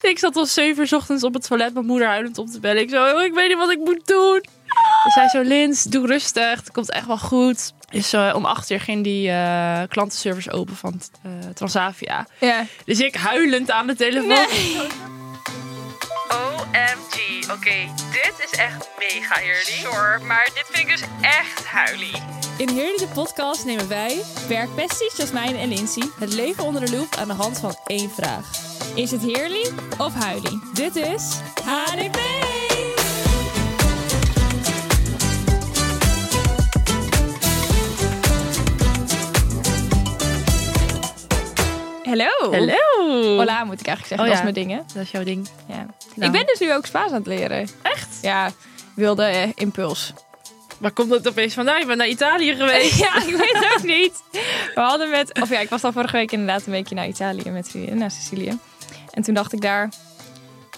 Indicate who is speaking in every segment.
Speaker 1: Ik zat om zeven uur 's ochtends op het toilet mijn moeder huilend op te bellen. Ik zo, "Oh, ik weet niet wat ik moet doen. Ze zei zo, Lins, doe rustig. Het komt echt wel goed. Dus eh, om acht uur ging die eh, klantenservice open van eh, Transavia.
Speaker 2: Ja.
Speaker 1: Dus ik huilend aan de telefoon.
Speaker 3: OMG. Oké, dit is echt mega eerlijk. Sorry, maar dit vind ik dus echt huilie.
Speaker 2: In Heerlijke Podcast nemen wij, werkpesties Jasmijn en Lindsay, het leven onder de loep aan de hand van één vraag. Is het heerlijk of huilie? Dit is HDP! Hallo!
Speaker 1: Hallo.
Speaker 2: Hola moet ik eigenlijk zeggen,
Speaker 1: Oh
Speaker 2: dat is
Speaker 1: ja.
Speaker 2: mijn dingen.
Speaker 1: Dat is jouw ding.
Speaker 2: Ja.
Speaker 1: Nou.
Speaker 2: Ik ben dus nu ook Spaans aan het leren.
Speaker 1: Echt?
Speaker 2: Ja, wilde eh, impuls.
Speaker 1: Waar komt dat opeens vandaan? Je bent naar Italië geweest.
Speaker 2: Ja, ik weet het ook niet. We hadden met, of ja, ik was al vorige week inderdaad een weekje naar Italië met vrienden, naar Sicilië. En toen dacht ik daar,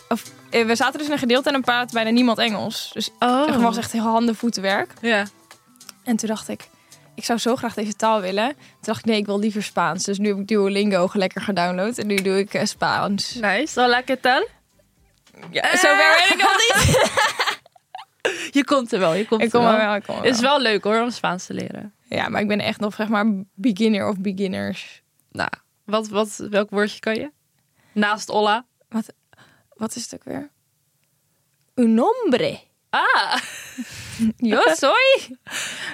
Speaker 2: of eh, we zaten dus in een gedeelte en dan praat bijna niemand Engels. Dus
Speaker 1: Oh.
Speaker 2: het was echt heel handen voeten werk.
Speaker 1: Ja.
Speaker 2: En toen dacht ik, ik zou zo graag deze taal willen. Toen dacht ik, nee, ik wil liever Spaans. Dus nu heb ik Duolingo lekker gedownload en nu doe ik eh, Spaans.
Speaker 1: Nice. Hola, ¿qué tal? Eh,
Speaker 2: Ja, zo werk ik nog niet.
Speaker 1: Je komt er wel, je komt
Speaker 2: Ik kom er wel, ik kom er
Speaker 1: Het is wel leuk hoor, om Spaans te leren.
Speaker 2: Ja, maar ik ben echt nog zeg maar beginner of beginners.
Speaker 1: Nou, wat, wat, welk woordje kan je? Naast Olla.
Speaker 2: Wat is het ook weer? Un hombre.
Speaker 1: Ah,
Speaker 2: Yo soy.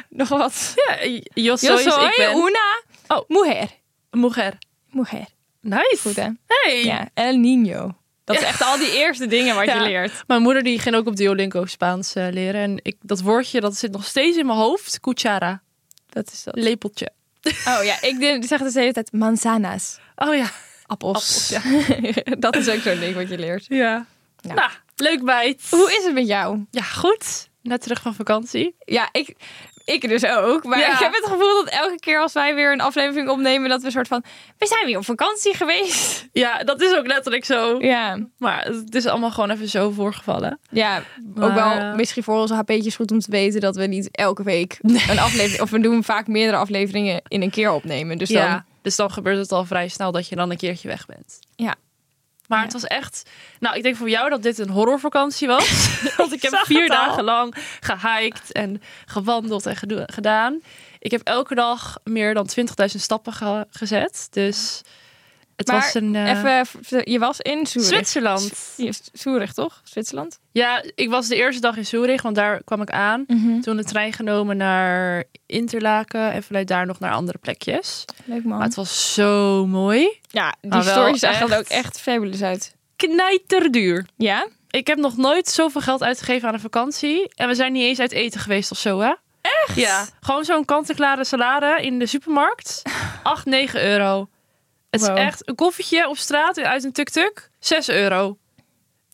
Speaker 2: Nog wat.
Speaker 1: ja, yo
Speaker 2: Yo
Speaker 1: soy,
Speaker 2: soy
Speaker 1: ik ben...
Speaker 2: una
Speaker 1: Oh.
Speaker 2: mujer.
Speaker 1: Mujer.
Speaker 2: Mujer.
Speaker 1: Nice.
Speaker 2: Goed hè?
Speaker 1: Hey.
Speaker 2: Ja, El Niño. Dat is echt al die eerste dingen wat
Speaker 1: Ja.
Speaker 2: je leert.
Speaker 1: Mijn moeder die ging ook op Duolingo Spaans eh, leren. En ik, dat woordje dat zit nog steeds in mijn hoofd. Cuchara.
Speaker 2: Dat is dat.
Speaker 1: Lepeltje.
Speaker 2: Oh ja, ik de- zeg dus de hele tijd manzanas.
Speaker 1: Oh ja.
Speaker 2: Appels. dat is ook zo'n ding wat je leert.
Speaker 1: Ja.
Speaker 2: Ja.
Speaker 1: Nou, leuk bijt.
Speaker 2: Hoe is het met jou?
Speaker 1: Ja, goed. Net terug van vakantie.
Speaker 2: Ja, ik, ik dus ook. Maar
Speaker 1: Ja.
Speaker 2: ik heb het gevoel dat elke keer als wij weer een aflevering opnemen, dat we een soort van. We zijn weer op vakantie geweest.
Speaker 1: Ja, dat is ook letterlijk zo.
Speaker 2: Ja,
Speaker 1: Maar het is allemaal gewoon even zo voorgevallen.
Speaker 2: ja ook wel
Speaker 1: Maar-
Speaker 2: misschien voor onze HP'tjes goed om te weten dat we niet elke week een aflevering. Of we doen vaak meerdere afleveringen in een keer opnemen. Dus dan.
Speaker 1: ja. Dus dan gebeurt het al vrij snel dat je dan een keertje weg bent.
Speaker 2: Ja.
Speaker 1: Maar
Speaker 2: Ja.
Speaker 1: het was echt... Nou, ik denk voor jou dat dit een horrorvakantie was. Want ik heb
Speaker 2: zag het
Speaker 1: vier
Speaker 2: al.
Speaker 1: dagen lang gehiked en gewandeld en gedo- gedaan. Ik heb elke dag meer dan 20.000 stappen ge- gezet. Dus het
Speaker 2: Maar
Speaker 1: was een... eh,
Speaker 2: Even, v- je was in Zurich.
Speaker 1: Zwitserland.
Speaker 2: Z- Zurich, toch? Zwitserland?
Speaker 1: Ja, ik was de eerste dag in Zurich, want daar kwam ik aan. Toen de trein genomen naar Interlaken en vanuit daar nog naar andere plekjes.
Speaker 2: Leuk man.
Speaker 1: Maar het was zo mooi.
Speaker 2: ja, die
Speaker 1: maar Nou, wel
Speaker 2: stories zagen er
Speaker 1: echt-
Speaker 2: ook echt fabulous uit.
Speaker 1: Knijterduur.
Speaker 2: Ja?
Speaker 1: Ik heb nog nooit zoveel geld uitgegeven aan een vakantie. En we zijn niet eens uit eten geweest of zo, hè? Echt? Ja. Gewoon zo'n kant-en-klare salade in de supermarkt. 8, 9 euro. Het
Speaker 2: Wow.
Speaker 1: is echt een koffietje op straat uit een tuk-tuk. 6 euro.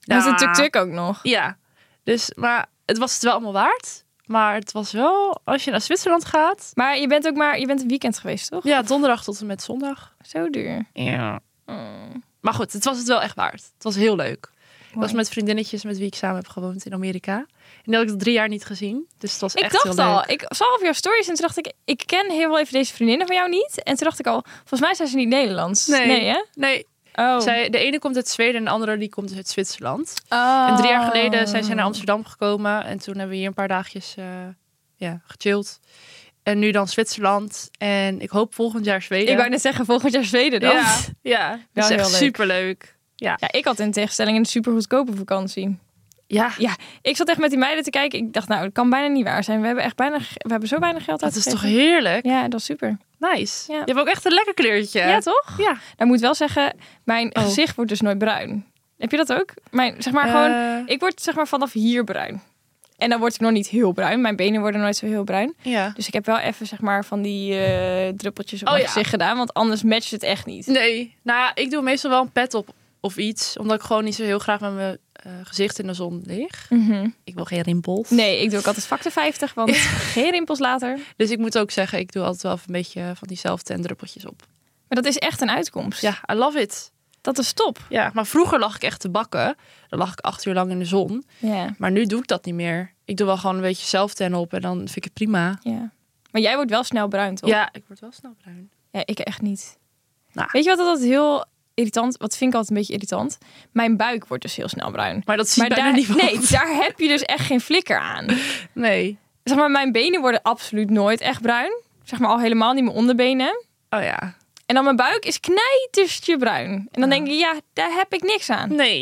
Speaker 2: Dat is een
Speaker 1: Ja.
Speaker 2: tuk-tuk ook nog.
Speaker 1: Ja, dus, maar het was het wel allemaal waard. Maar het was wel, als je naar Zwitserland gaat.
Speaker 2: Maar je bent ook maar, je bent een weekend geweest, toch?
Speaker 1: Ja, donderdag tot en met zondag.
Speaker 2: Zo duur.
Speaker 1: Ja.
Speaker 2: Mm.
Speaker 1: Maar goed, het was het wel echt waard. Het was heel leuk. Ik was
Speaker 2: Mooi.
Speaker 1: met vriendinnetjes met wie ik samen heb gewoond in Amerika. En die had ik al drie jaar niet gezien. Dus het was
Speaker 2: Ik
Speaker 1: echt heel
Speaker 2: dacht al,
Speaker 1: leuk.
Speaker 2: ik zag op jouw stories en toen dacht ik, ik ken heel wel even deze vriendinnen van jou niet. En toen dacht ik al, volgens mij zijn ze niet Nederlands.
Speaker 1: Nee.
Speaker 2: hè?
Speaker 1: Nee,
Speaker 2: Oh.
Speaker 1: zij, de ene komt uit Zweden en de andere die komt uit Zwitserland.
Speaker 2: Oh.
Speaker 1: En drie jaar geleden zijn ze naar
Speaker 2: nou
Speaker 1: Amsterdam gekomen. En toen hebben we hier een paar dagjes eh, ja, gechilled. En nu dan Zwitserland. En ik hoop volgend jaar Zweden.
Speaker 2: Ik wou net zeggen, volgend jaar Zweden dan.
Speaker 1: Ja, ja.
Speaker 2: Wel
Speaker 1: dat is echt
Speaker 2: heel leuk.
Speaker 1: superleuk. Ja.
Speaker 2: Ja, ik had in tegenstelling een super goedkope vakantie.
Speaker 1: ja,
Speaker 2: Ja, ik zat echt met die meiden te kijken. Ik dacht, nou, dat kan bijna niet waar zijn. We hebben echt bijna, ge- we hebben zo weinig geld
Speaker 1: dat is toch
Speaker 2: uitgegeven.
Speaker 1: heerlijk.
Speaker 2: Ja, dat is super.
Speaker 1: Nice.
Speaker 2: Ja.
Speaker 1: Je hebt ook echt een lekker kleurtje.
Speaker 2: Ja, toch?
Speaker 1: Ja.
Speaker 2: Nou, moet wel zeggen, mijn
Speaker 1: Oh.
Speaker 2: gezicht wordt dus nooit bruin. Heb je dat ook? Mijn, zeg maar gewoon,
Speaker 1: Eh,
Speaker 2: ik word zeg maar vanaf hier bruin. En dan word ik nog niet heel bruin. Mijn benen worden nooit zo heel bruin.
Speaker 1: ja.
Speaker 2: Dus ik heb wel even zeg maar van die eh, druppeltjes op
Speaker 1: Oh,
Speaker 2: mijn
Speaker 1: ja.
Speaker 2: gezicht gedaan. Want anders matcht het echt niet.
Speaker 1: Nee. Nou, ja, ik doe meestal wel een pet op of iets. Omdat ik gewoon niet zo heel graag met mijn eh, gezicht in de zon lig.
Speaker 2: Mhm.
Speaker 1: Ik wil geen rimpels.
Speaker 2: Nee, ik doe ook altijd factor 50, want geen rimpels later.
Speaker 1: Dus ik moet ook zeggen, ik doe altijd wel even een beetje van diezelfde en druppeltjes op.
Speaker 2: Maar dat is echt een uitkomst.
Speaker 1: Ja, I love it.
Speaker 2: Dat is top.
Speaker 1: Ja, maar vroeger lag ik echt te bakken. Dan lag ik acht uur lang in de zon.
Speaker 2: Ja.
Speaker 1: Maar nu doe ik dat niet meer. Ik doe wel gewoon een beetje zelftan op en dan vind ik het prima.
Speaker 2: Ja. Maar jij wordt wel snel bruin, toch?
Speaker 1: Ja, ik word wel snel bruin.
Speaker 2: Ja, ik echt niet.
Speaker 1: Nou.
Speaker 2: Weet je wat dat heel irritant. Wat vind ik altijd een beetje irritant. Mijn buik wordt dus heel snel bruin.
Speaker 1: Maar dat zie je bijna
Speaker 2: daar,
Speaker 1: niet
Speaker 2: nee, daar heb je dus echt geen flikker aan.
Speaker 1: Nee.
Speaker 2: Zeg maar, mijn benen worden absoluut nooit echt bruin. Zeg maar al helemaal niet mijn onderbenen.
Speaker 1: Oh ja.
Speaker 2: En dan mijn buik is knijterstje bruin. En dan denk je, ja, daar heb ik niks aan.
Speaker 1: Nee.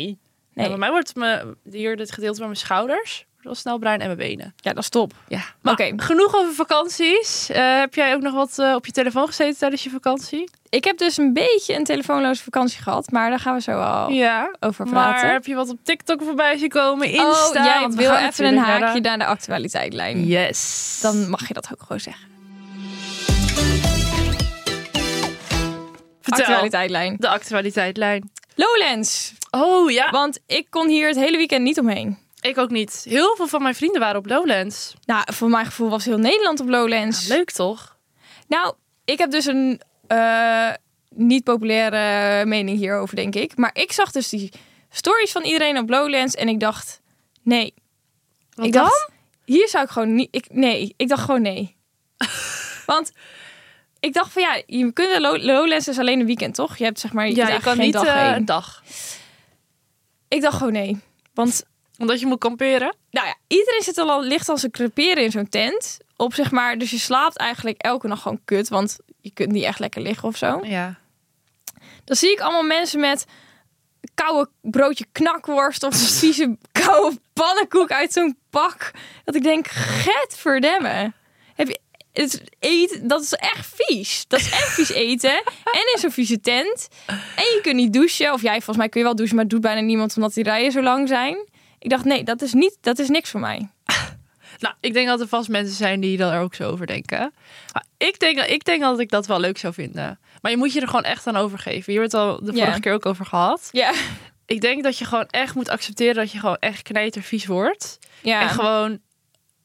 Speaker 2: Nee.
Speaker 1: Ja, bij mij wordt me, hier dit gedeelte van mijn schouders wordt al snel bruin en mijn benen.
Speaker 2: Ja, dat is top.
Speaker 1: Ja.
Speaker 2: Oké.
Speaker 1: Maar genoeg over vakanties. Eh, heb jij ook nog wat eh, op je telefoon gezeten tijdens je vakantie?
Speaker 2: Ik heb dus een beetje een telefoonloze vakantie gehad. Maar daar gaan we zo al
Speaker 1: Ja.
Speaker 2: Oh. over praten.
Speaker 1: Maar heb je wat op TikTok voorbij zien komen? Insta?
Speaker 2: oh, jij
Speaker 1: Want we
Speaker 2: wil
Speaker 1: gaan
Speaker 2: even een
Speaker 1: natuurlijk
Speaker 2: haakje
Speaker 1: naar
Speaker 2: naar de actualiteitlijn.
Speaker 1: de- Yes.
Speaker 2: Dan mag je dat ook gewoon zeggen.
Speaker 1: Vertel.
Speaker 2: Actualiteitlijn.
Speaker 1: De actualiteitlijn.
Speaker 2: Lowlands.
Speaker 1: Oh ja.
Speaker 2: Want ik kon hier het hele weekend niet omheen.
Speaker 1: Ik ook niet. Heel veel van mijn vrienden waren op Lowlands.
Speaker 2: Nou, voor mijn gevoel was heel Nederland op Lowlands.
Speaker 1: Leuk toch?
Speaker 2: Nou, ik heb dus een eh, niet populaire mening hierover, denk ik. Maar ik zag dus die stories van iedereen op Lowlands en ik dacht, nee.
Speaker 1: Wat
Speaker 2: ik
Speaker 1: dan?
Speaker 2: dacht, hier zou ik gewoon niet... Ik, nee, ik dacht gewoon nee. Want ik dacht van ja, je kunt de Low- Lowlands is alleen een weekend, toch? Je hebt zeg maar je kunt
Speaker 1: je kan niet
Speaker 2: eigenlijk geen
Speaker 1: eh,
Speaker 2: dag heen.
Speaker 1: een dag.
Speaker 2: Ik dacht gewoon nee. Want
Speaker 1: Omdat je moet kamperen.
Speaker 2: nou ja, iedereen zit al licht als een creperen in zo'n tent. Op zeg maar, dus je slaapt eigenlijk elke nacht gewoon kut, want je kunt niet echt lekker liggen of zo.
Speaker 1: Ja.
Speaker 2: Dan zie ik allemaal mensen met koude broodje knakworst of een vieze koude pannenkoek uit zo'n pak. Dat ik denk, getverdemme. Heb je, het eten, dat is echt vies. Dat is echt vies eten. En in zo'n vieze tent. En je kunt niet douchen. Of jij, volgens mij kun je wel douchen, maar het doet bijna niemand omdat die rijen zo lang zijn. Ik dacht, nee, dat is, niet, dat is niks voor mij.
Speaker 1: Nou, ik denk dat er vast mensen zijn die daar ook zo over denken. Maar ik, denk, ik denk dat ik dat wel leuk zou vinden. Maar je moet je er gewoon echt aan overgeven. Hier werd het al de
Speaker 2: Ja.
Speaker 1: vorige keer ook over gehad.
Speaker 2: Ja.
Speaker 1: Ik denk dat je gewoon echt moet accepteren dat je gewoon echt knijtervies wordt.
Speaker 2: ja.
Speaker 1: En gewoon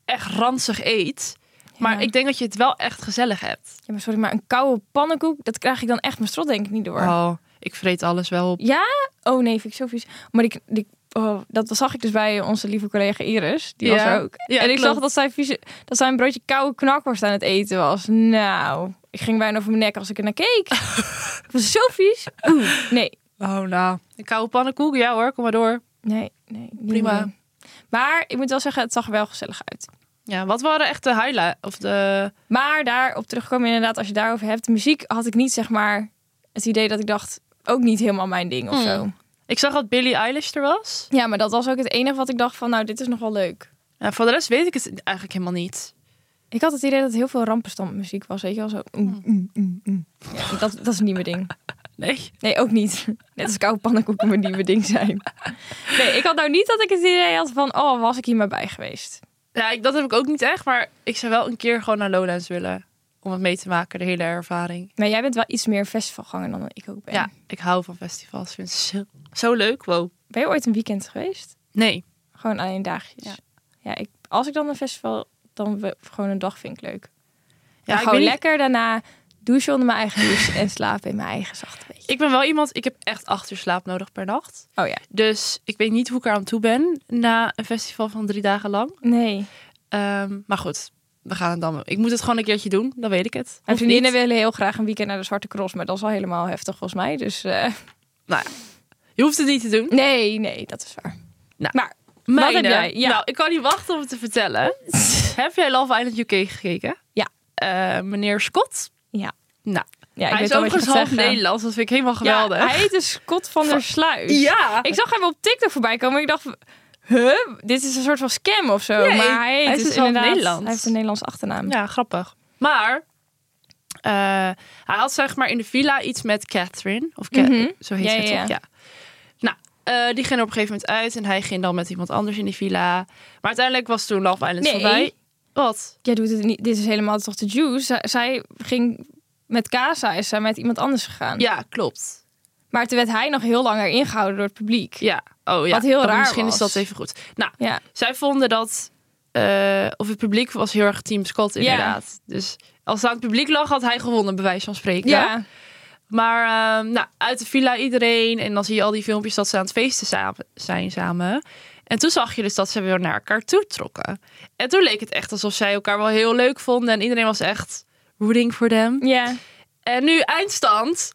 Speaker 1: echt ranzig eet. Maar
Speaker 2: Ja.
Speaker 1: ik denk dat je het wel echt gezellig hebt.
Speaker 2: ja, maar sorry, maar een koude pannenkoek, dat krijg ik dan echt mijn strot denk ik niet door.
Speaker 1: Oh, ik vreet alles wel op.
Speaker 2: Ja? Oh nee, vind ik zo vies. Maar die, die, oh, dat zag ik dus bij onze lieve collega Iris. Die was
Speaker 1: Ja.
Speaker 2: er ook.
Speaker 1: Ja,
Speaker 2: en ik
Speaker 1: klopt.
Speaker 2: zag dat zij, vieze, dat zij een broodje koude knakworst aan het eten was. Nou, ik ging bijna over mijn nek als ik er naar keek. ik was zo vies. Oeh, nee.
Speaker 1: Oh, nou. Een koude pannenkoek, ja hoor, kom maar door.
Speaker 2: Nee, nee. niet
Speaker 1: Prima.
Speaker 2: meer. Maar ik moet wel zeggen, het zag er wel gezellig uit.
Speaker 1: Ja, wat waren echt de highlights? Of de...
Speaker 2: Maar daarop terugkomen inderdaad, als je het daarover hebt. Muziek had ik niet, zeg maar, het idee dat ik dacht... Ook niet helemaal mijn ding of
Speaker 1: Hmm.
Speaker 2: zo.
Speaker 1: Ik zag dat Billie Eilish er was.
Speaker 2: Ja, maar dat was ook het enige wat ik dacht van, nou, dit is nog wel leuk.
Speaker 1: En voor de rest weet ik het eigenlijk helemaal niet.
Speaker 2: Ik had het idee dat het heel veel rampenstampmuziek was, weet je wel zo. mm, mm, mm, mm. Ja, dat, dat is niet mijn ding.
Speaker 1: Nee.
Speaker 2: Nee, ook niet. Net als koude pannenkoeken maar niet mijn ding zijn. Nee, ik had nou niet dat ik het idee had van, oh, was ik hier maar bij geweest.
Speaker 1: Ja, ik, dat heb ik ook niet echt. Maar ik zou wel een keer gewoon naar Lowlands willen. Om het mee te maken, de hele ervaring.
Speaker 2: Maar jij bent wel iets meer festivalganger dan ik ook ben.
Speaker 1: Ja, ik hou van festivals. vind het zo, zo leuk. Wow.
Speaker 2: Ben je ooit een weekend geweest?
Speaker 1: Nee.
Speaker 2: Gewoon alleen dagjes.
Speaker 1: Ja.
Speaker 2: Ja, ik, als ik dan een festival, dan we, gewoon een dag vind ik leuk.
Speaker 1: Ja,
Speaker 2: Ja,
Speaker 1: ik,
Speaker 2: gewoon
Speaker 1: ben niet-
Speaker 2: lekker daarna douchen onder mijn eigen douche en slapen in mijn eigen zachte beetje.
Speaker 1: ik ben wel iemand, ik heb echt acht uur slaap nodig per nacht.
Speaker 2: Oh ja.
Speaker 1: Dus ik weet niet hoe ik er aan toe ben na een festival van drie dagen lang.
Speaker 2: Nee.
Speaker 1: Ehm, maar goed, we gaan het dan. Ik moet het gewoon een keertje doen, dan weet ik het.
Speaker 2: Mijn
Speaker 1: Hoeft niet.
Speaker 2: vriendinnen willen heel graag een weekend naar de Zwarte Cross, maar dat is al helemaal heftig volgens mij. Dus eh,
Speaker 1: Nou, ja, je hoeft het niet te doen.
Speaker 2: nee, nee, dat is waar.
Speaker 1: Nou,
Speaker 2: maar
Speaker 1: Mijne.
Speaker 2: heb jij? Ja.
Speaker 1: Nou, ik kan niet wachten om het te vertellen. Heb jij Love Island UK gekeken?
Speaker 2: Ja.
Speaker 1: Eh, meneer Scott?
Speaker 2: ja,
Speaker 1: Nou,
Speaker 2: ja ik
Speaker 1: hij
Speaker 2: weet
Speaker 1: is
Speaker 2: wel wat je
Speaker 1: overigens
Speaker 2: gaat
Speaker 1: half
Speaker 2: zeggen.
Speaker 1: Nederlands. Dat vind ik helemaal
Speaker 2: Ja,
Speaker 1: geweldig.
Speaker 2: hij heet dus Scott van der Sluis.
Speaker 1: Ja.
Speaker 2: Ik zag hem op TikTok voorbij komen en ik dacht, huh, dit is een soort van scam of zo.
Speaker 1: Nee,
Speaker 2: maar hij, heet
Speaker 1: hij is
Speaker 2: dus
Speaker 1: dus half
Speaker 2: inderdaad,
Speaker 1: Nederlands.
Speaker 2: hij heeft een Nederlands achternaam.
Speaker 1: Ja, grappig. Maar eh, hij had zeg maar in de villa iets met Catherine. Of Ca-
Speaker 2: Mhm.
Speaker 1: zo heet
Speaker 2: Ja,
Speaker 1: zij
Speaker 2: ja,
Speaker 1: toch? Ja.
Speaker 2: ja.
Speaker 1: Nou, eh, die ging er op een gegeven moment uit. En hij ging dan met iemand anders in die villa. Maar uiteindelijk was toen Love Island
Speaker 2: Nee.
Speaker 1: voorbij. Wat?
Speaker 2: Jij doet het niet, dit is helemaal toch de juice. Zij, zij ging met Casa, is zij met iemand anders gegaan.
Speaker 1: Ja, klopt.
Speaker 2: Maar toen werd hij nog heel lang erin gehouden door het publiek.
Speaker 1: Ja. Oh ja.
Speaker 2: Wat heel
Speaker 1: Dan
Speaker 2: raar
Speaker 1: Misschien is
Speaker 2: was.
Speaker 1: dat even goed. Nou,
Speaker 2: Ja.
Speaker 1: zij vonden dat... eh, of het publiek was heel erg Team Scott, inderdaad. Dus als het aan het publiek lag, had hij gewonnen, bij wijze van spreken.
Speaker 2: ja.
Speaker 1: Maar ehm, nou, uit de villa iedereen. En dan zie je al die filmpjes dat ze aan het feesten sa- zijn samen. En toen zag je dus dat ze weer naar elkaar toe trokken. En toen leek het echt alsof zij elkaar wel heel leuk vonden. En iedereen was echt rooting voor them.
Speaker 2: ja.
Speaker 1: En nu eindstand.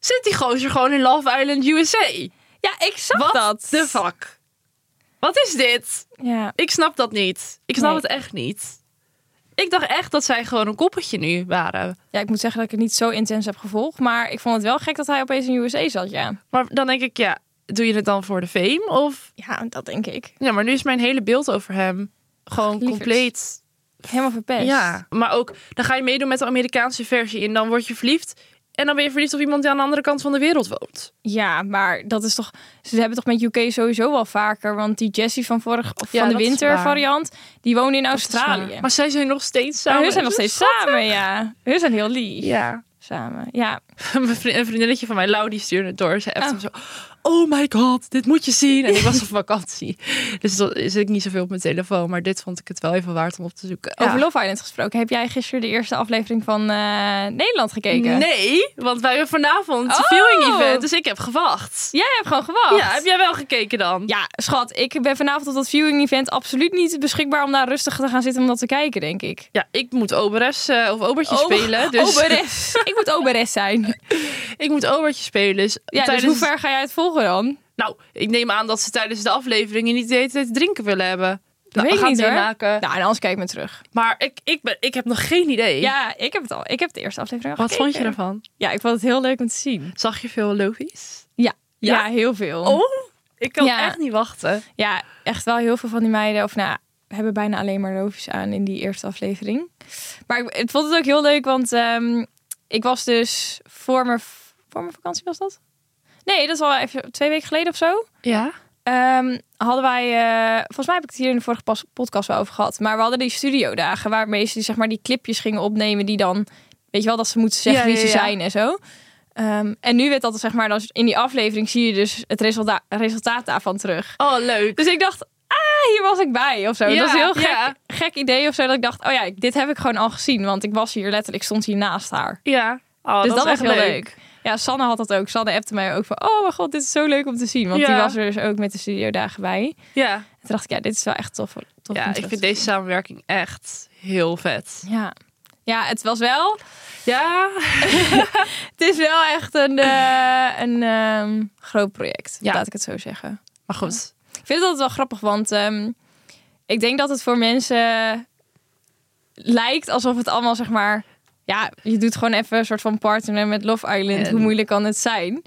Speaker 1: zit die gozer gewoon in Love Island USA.
Speaker 2: Ja, ik zag
Speaker 1: Wat
Speaker 2: dat.
Speaker 1: de fuck? Wat is dit?
Speaker 2: Ja.
Speaker 1: Ik snap dat niet. Ik snap
Speaker 2: Nee.
Speaker 1: het echt niet. Ik dacht echt dat zij gewoon een koppeltje nu waren.
Speaker 2: ja, ik moet zeggen dat ik het niet zo intens heb gevolgd. Maar ik vond het wel gek dat hij opeens in USA zat, ja.
Speaker 1: Maar dan denk ik, ja, doe je het dan voor de fame? Of
Speaker 2: Ja, dat denk ik.
Speaker 1: ja, maar nu is mijn hele beeld over hem gewoon
Speaker 2: lieverd.
Speaker 1: compleet.
Speaker 2: Helemaal verpest.
Speaker 1: Ja, maar ook dan ga je meedoen met de Amerikaanse versie en dan word je verliefd. En dan ben je verliefd op iemand die aan de andere kant van de wereld woont.
Speaker 2: Ja, maar dat is toch. Ze hebben toch met UK sowieso wel vaker. Want die Jessie van vorig of
Speaker 1: Ja,
Speaker 2: van de
Speaker 1: dat is
Speaker 2: winter
Speaker 1: waar.
Speaker 2: variant, die woonde in
Speaker 1: Dat is waar.
Speaker 2: Australië. Maar
Speaker 1: Maar zij zijn nog steeds samen.
Speaker 2: hun zijn nog
Speaker 1: Is dat
Speaker 2: steeds
Speaker 1: schattig?
Speaker 2: samen, ja. Hun zijn heel lief.
Speaker 1: Ja.
Speaker 2: Samen. Ja.
Speaker 1: Mijn vriend- een vriendinnetje van mij, Lau, die stuurde het door. Ze
Speaker 2: Ah.
Speaker 1: appte hem zo, oh my god, dit moet je zien. En ik was op vakantie. Dus dan zit ik niet zoveel op mijn telefoon. Maar dit vond ik het wel even waard om op te zoeken. Ja.
Speaker 2: Over Love Island gesproken. Heb jij gisteren de eerste aflevering van eh, Nederland gekeken?
Speaker 1: Nee, want wij hebben vanavond een
Speaker 2: Oh.
Speaker 1: viewing event. Dus ik heb gewacht.
Speaker 2: Jij hebt gewoon gewacht.
Speaker 1: Ja, heb jij wel gekeken dan?
Speaker 2: Ja, schat, ik ben vanavond op dat viewing event absoluut niet beschikbaar om daar rustig te gaan zitten om dat te kijken, denk ik.
Speaker 1: Ja, ik moet oberes eh, of obertje
Speaker 2: Ober-
Speaker 1: spelen. Dus
Speaker 2: Oberes. ik moet oberes zijn.
Speaker 1: ik moet obertje spelen. Dus
Speaker 2: Ja,
Speaker 1: tijdens...
Speaker 2: dus hoe ver ga jij het volgen dan?
Speaker 1: Nou, ik neem aan dat ze tijdens de afleveringen niet de hele tijd drinken willen hebben. Nou,
Speaker 2: weet
Speaker 1: we
Speaker 2: ik
Speaker 1: gaan
Speaker 2: niet,
Speaker 1: het
Speaker 2: hoor.
Speaker 1: meemaken.
Speaker 2: Nou, en anders kijk ik me terug.
Speaker 1: Maar ik, ik, ben, ik heb nog geen idee.
Speaker 2: Ja, ik heb het al. Ik heb de eerste aflevering al
Speaker 1: Wat vond je
Speaker 2: gekeken.
Speaker 1: ervan?
Speaker 2: Ja, ik vond het heel leuk om te zien.
Speaker 1: Zag je veel lovies?
Speaker 2: Ja, ja,
Speaker 1: Ja?
Speaker 2: heel veel.
Speaker 1: Oh, ik kan
Speaker 2: Ja.
Speaker 1: echt niet wachten.
Speaker 2: Ja, echt wel heel veel van die meiden. Of nou, hebben bijna alleen maar roofjes aan in die eerste aflevering. Maar ik, ik vond het ook heel leuk, want ehm, ik was dus voor mijn, voor mijn vakantie was dat? Nee, dat is al even twee weken geleden of zo.
Speaker 1: Ja.
Speaker 2: Ehm, hadden wij, eh, volgens mij heb ik het hier in de vorige pas- podcast wel over gehad. Maar we hadden die studiodagen waarmee ze zeg maar die clipjes gingen opnemen die dan, weet je wel, dat ze moeten zeggen
Speaker 1: Ja,
Speaker 2: wie
Speaker 1: ja,
Speaker 2: ze
Speaker 1: ja.
Speaker 2: zijn en zo. Ehm, en nu werd dat zeg maar, dan in die aflevering zie je dus het resulta- resultaat daarvan terug.
Speaker 1: Oh, leuk.
Speaker 2: Dus ik dacht, ah, hier was ik bij of zo.
Speaker 1: Ja,
Speaker 2: dat is een heel gek,
Speaker 1: ja.
Speaker 2: gek idee of zo. Dat ik dacht, oh ja, ik- dit heb ik gewoon al gezien. Want ik was hier letterlijk, ik stond hier naast haar.
Speaker 1: Ja. Oh,
Speaker 2: dus dat,
Speaker 1: is
Speaker 2: was heel leuk. Ja, Sanne had dat ook. Sanne appte mij ook van, oh mijn god, dit is zo leuk om te zien. Want die
Speaker 1: Ja.
Speaker 2: was er dus ook met de studiodagen bij. En
Speaker 1: Ja,
Speaker 2: toen dacht ik, ja, dit is wel echt tof. tof om
Speaker 1: ja ik
Speaker 2: terug
Speaker 1: vind
Speaker 2: te
Speaker 1: deze samenwerking echt heel vet.
Speaker 2: zien. Ja. ja, het was wel...
Speaker 1: Ja.
Speaker 2: Het is wel echt een, eh, een ehm, groot project,
Speaker 1: Ja.
Speaker 2: laat ik het zo zeggen.
Speaker 1: Maar goed.
Speaker 2: Ik vind het altijd wel grappig, want ehm, ik denk dat het voor mensen lijkt alsof het allemaal zeg maar. Ja, je doet gewoon even een soort van partner met Love Island.
Speaker 1: En-
Speaker 2: Hoe moeilijk kan het zijn?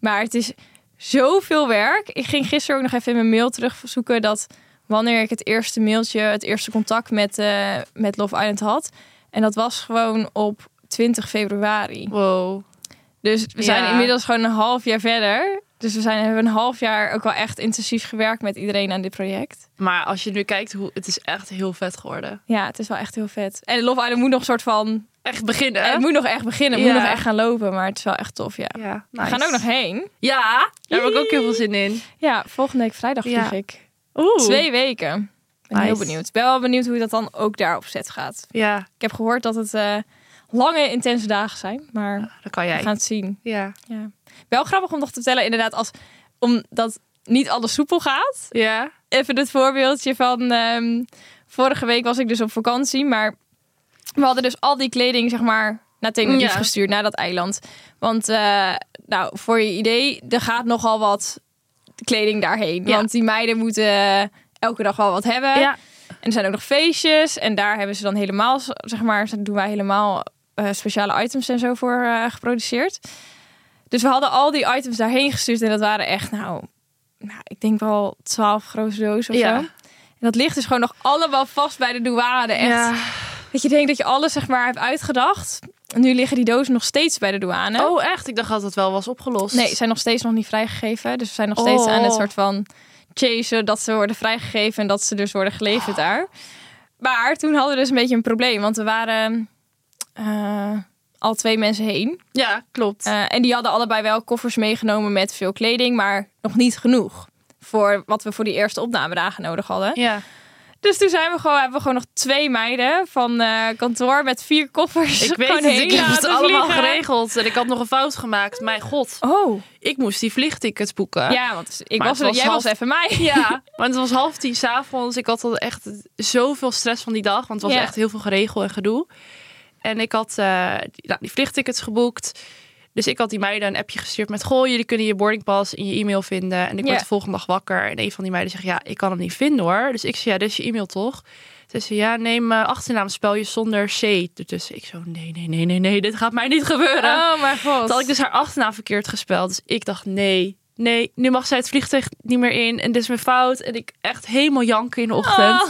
Speaker 2: Maar het is zoveel werk. Ik ging gisteren ook nog even in mijn mail terugzoeken dat wanneer ik het eerste mailtje, het eerste contact met, eh, met Love Island had. En dat was gewoon op 20 februari.
Speaker 1: Wow.
Speaker 2: Dus we zijn
Speaker 1: Ja.
Speaker 2: inmiddels gewoon een half jaar verder. Dus we zijn, hebben een half jaar ook wel echt intensief gewerkt met iedereen aan dit project.
Speaker 1: Maar als je nu kijkt, hoe, het is echt heel vet geworden.
Speaker 2: Ja, het is wel echt heel vet. En Love Island moet nog een soort van... eh,
Speaker 1: Echt beginnen.
Speaker 2: Het moet nog echt beginnen. Het moet
Speaker 1: Ja.
Speaker 2: nog echt gaan lopen. Maar het is wel echt tof, ja.
Speaker 1: Ja,
Speaker 2: We gaan ook nog heen.
Speaker 1: Ja, daar heb ik ook heel veel zin in.
Speaker 2: Ja, volgende week vrijdag vlieg
Speaker 1: Ja.
Speaker 2: ik.
Speaker 1: Oeh.
Speaker 2: Twee weken. Ik ben
Speaker 1: Nice.
Speaker 2: heel benieuwd. Ik ben wel benieuwd hoe dat dan ook daar op set gaat.
Speaker 1: Ja,
Speaker 2: Ik heb gehoord dat het eh, lange, intense dagen zijn. Maar
Speaker 1: dat kan
Speaker 2: we
Speaker 1: jij.
Speaker 2: gaan het zien.
Speaker 1: Ja.
Speaker 2: Ja. Wel grappig om nog te vertellen, inderdaad, als, omdat niet alles soepel gaat.
Speaker 1: Ja.
Speaker 2: Even het voorbeeldje van ehm, vorige week was ik dus op vakantie, maar we hadden dus al die kleding, zeg maar, naar Tenerife
Speaker 1: Ja.
Speaker 2: gestuurd, naar dat eiland. Want, eh, nou, voor je idee, er gaat nogal wat kleding daarheen.
Speaker 1: Ja.
Speaker 2: Want die meiden moeten eh, elke dag wel wat hebben.
Speaker 1: Ja.
Speaker 2: En er zijn ook nog feestjes. En daar hebben ze dan helemaal, zeg maar, doen wij helemaal eh, speciale items en zo voor eh, geproduceerd. Dus we hadden al die items daarheen gestuurd. En dat waren echt, nou, nou ik denk wel twaalf grote dozen of
Speaker 1: Ja.
Speaker 2: zo. En dat ligt dus gewoon nog allemaal vast bij de douane. Echt. Dat je denkt dat je alles, zeg maar, hebt uitgedacht. En nu liggen die dozen nog steeds bij de douane.
Speaker 1: Oh, echt? Ik dacht dat het wel was opgelost.
Speaker 2: Nee, ze zijn nog steeds nog niet vrijgegeven. Dus we zijn nog steeds
Speaker 1: Oh.
Speaker 2: aan het soort van chasen dat ze worden vrijgegeven en dat ze dus worden
Speaker 1: Ah.
Speaker 2: geleverd daar. Maar toen hadden we dus een beetje een probleem, want er waren eh, al twee mensen heen.
Speaker 1: Ja, klopt.
Speaker 2: Eh, en die hadden allebei wel koffers meegenomen met veel kleding, maar nog niet genoeg voor wat we voor die eerste opnamedagen nodig hadden.
Speaker 1: ja.
Speaker 2: Dus toen zijn we gewoon, hebben we gewoon nog twee meiden van eh, kantoor met vier koffers.
Speaker 1: Ik weet
Speaker 2: gewoon
Speaker 1: het,
Speaker 2: heen
Speaker 1: ik heb het
Speaker 2: laten
Speaker 1: allemaal
Speaker 2: vliegen.
Speaker 1: geregeld. En ik had nog een fout gemaakt. Mijn god,
Speaker 2: Oh,
Speaker 1: ik moest die vliegtickets boeken.
Speaker 2: ja, want ik
Speaker 1: Maar
Speaker 2: was,
Speaker 1: het
Speaker 2: er,
Speaker 1: was
Speaker 2: jij
Speaker 1: half-
Speaker 2: was even mij.
Speaker 1: Ja, want het was half tien s'avonds. Ik had al echt zoveel stress van die dag. Want het was
Speaker 2: Ja.
Speaker 1: echt heel veel geregel en gedoe. En ik had eh, die, nou, die vliegtickets geboekt. Dus ik had die meiden een appje gestuurd met... Goh, jullie kunnen je boardingpas in je e-mail vinden. En ik word
Speaker 2: Ja.
Speaker 1: de volgende dag wakker. En een van die meiden zegt, ja, ik kan hem niet vinden hoor. Dus ik zeg, ja, dit is je e-mail toch? Ze zei, ja, neem eh, achternaam, spel je zonder C ertussen. Ik zo, nee, nee, nee, nee, nee, dit gaat mij niet gebeuren.
Speaker 2: Oh mijn god.
Speaker 1: Toen had ik dus haar achternaam verkeerd gespeld. Dus ik dacht, nee, nee, nu mag zij het vliegtuig niet meer in. En dit is mijn fout. En ik echt helemaal janken in de ochtend.
Speaker 2: Oh.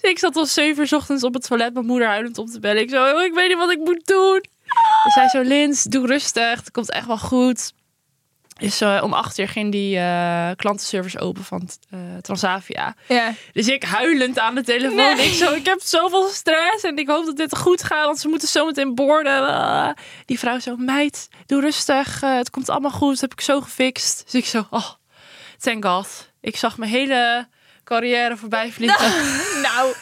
Speaker 1: Dus ik zat al zeven uur ochtends op het toilet mijn moeder huilend op te bellen. Ik zo, "Oh, ik weet niet wat ik moet doen. Dus zij zo, Lins, doe rustig. Het komt echt wel goed. Dus eh, om acht uur ging die eh, klantenservice open van eh, Transavia.
Speaker 2: Ja.
Speaker 1: Dus ik huilend aan de telefoon.
Speaker 2: Nee.
Speaker 1: Ik zo, ik heb zoveel stress en ik hoop dat dit goed gaat, want ze moeten zo meteen boorden. Ah. Die vrouw zo, meid, doe rustig, eh, het komt allemaal goed, dat heb ik zo gefixt. Dus ik zo, oh, thank god. Ik zag mijn hele carrière voorbij vliegen.
Speaker 2: Nou,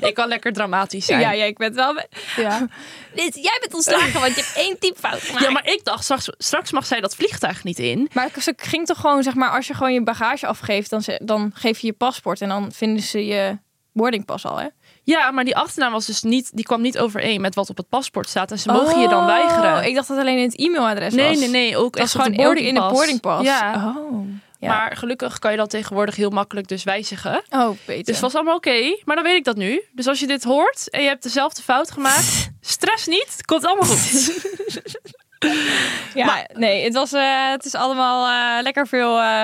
Speaker 1: Ik kan lekker dramatisch zijn.
Speaker 2: ja,
Speaker 1: Ja,
Speaker 2: ja, ik ben wel.
Speaker 1: ja.
Speaker 2: Dit, jij bent ontslagen, want je hebt één typfout gemaakt.
Speaker 1: maar ik dacht, straks, straks mag zij dat vliegtuig niet in.
Speaker 2: Maar ze ging toch gewoon, zeg maar, als je gewoon je bagage afgeeft, dan, ze- dan geef je je paspoort en dan vinden ze je boardingpas al, hè?
Speaker 1: Ja, maar die achternaam was dus niet, die kwam niet overeen met wat op het paspoort staat. En ze mogen je dan weigeren.
Speaker 2: Oh, Ik dacht dat alleen in het e-mailadres
Speaker 1: Nee,
Speaker 2: was.
Speaker 1: nee, nee. Ook
Speaker 2: Dat
Speaker 1: echt
Speaker 2: is
Speaker 1: op
Speaker 2: gewoon
Speaker 1: de
Speaker 2: ook in de
Speaker 1: boardingpas.
Speaker 2: boardingpas.
Speaker 1: Ja.
Speaker 2: Oh, ja.
Speaker 1: Maar gelukkig kan je dat tegenwoordig heel makkelijk dus wijzigen.
Speaker 2: oh beter.
Speaker 1: Dus het was allemaal oké, maar dan weet ik dat nu. Dus als je dit hoort en je hebt dezelfde fout gemaakt, stress niet, het komt allemaal goed.
Speaker 2: ja, nee, het, was, eh, het is allemaal eh, lekker veel eh,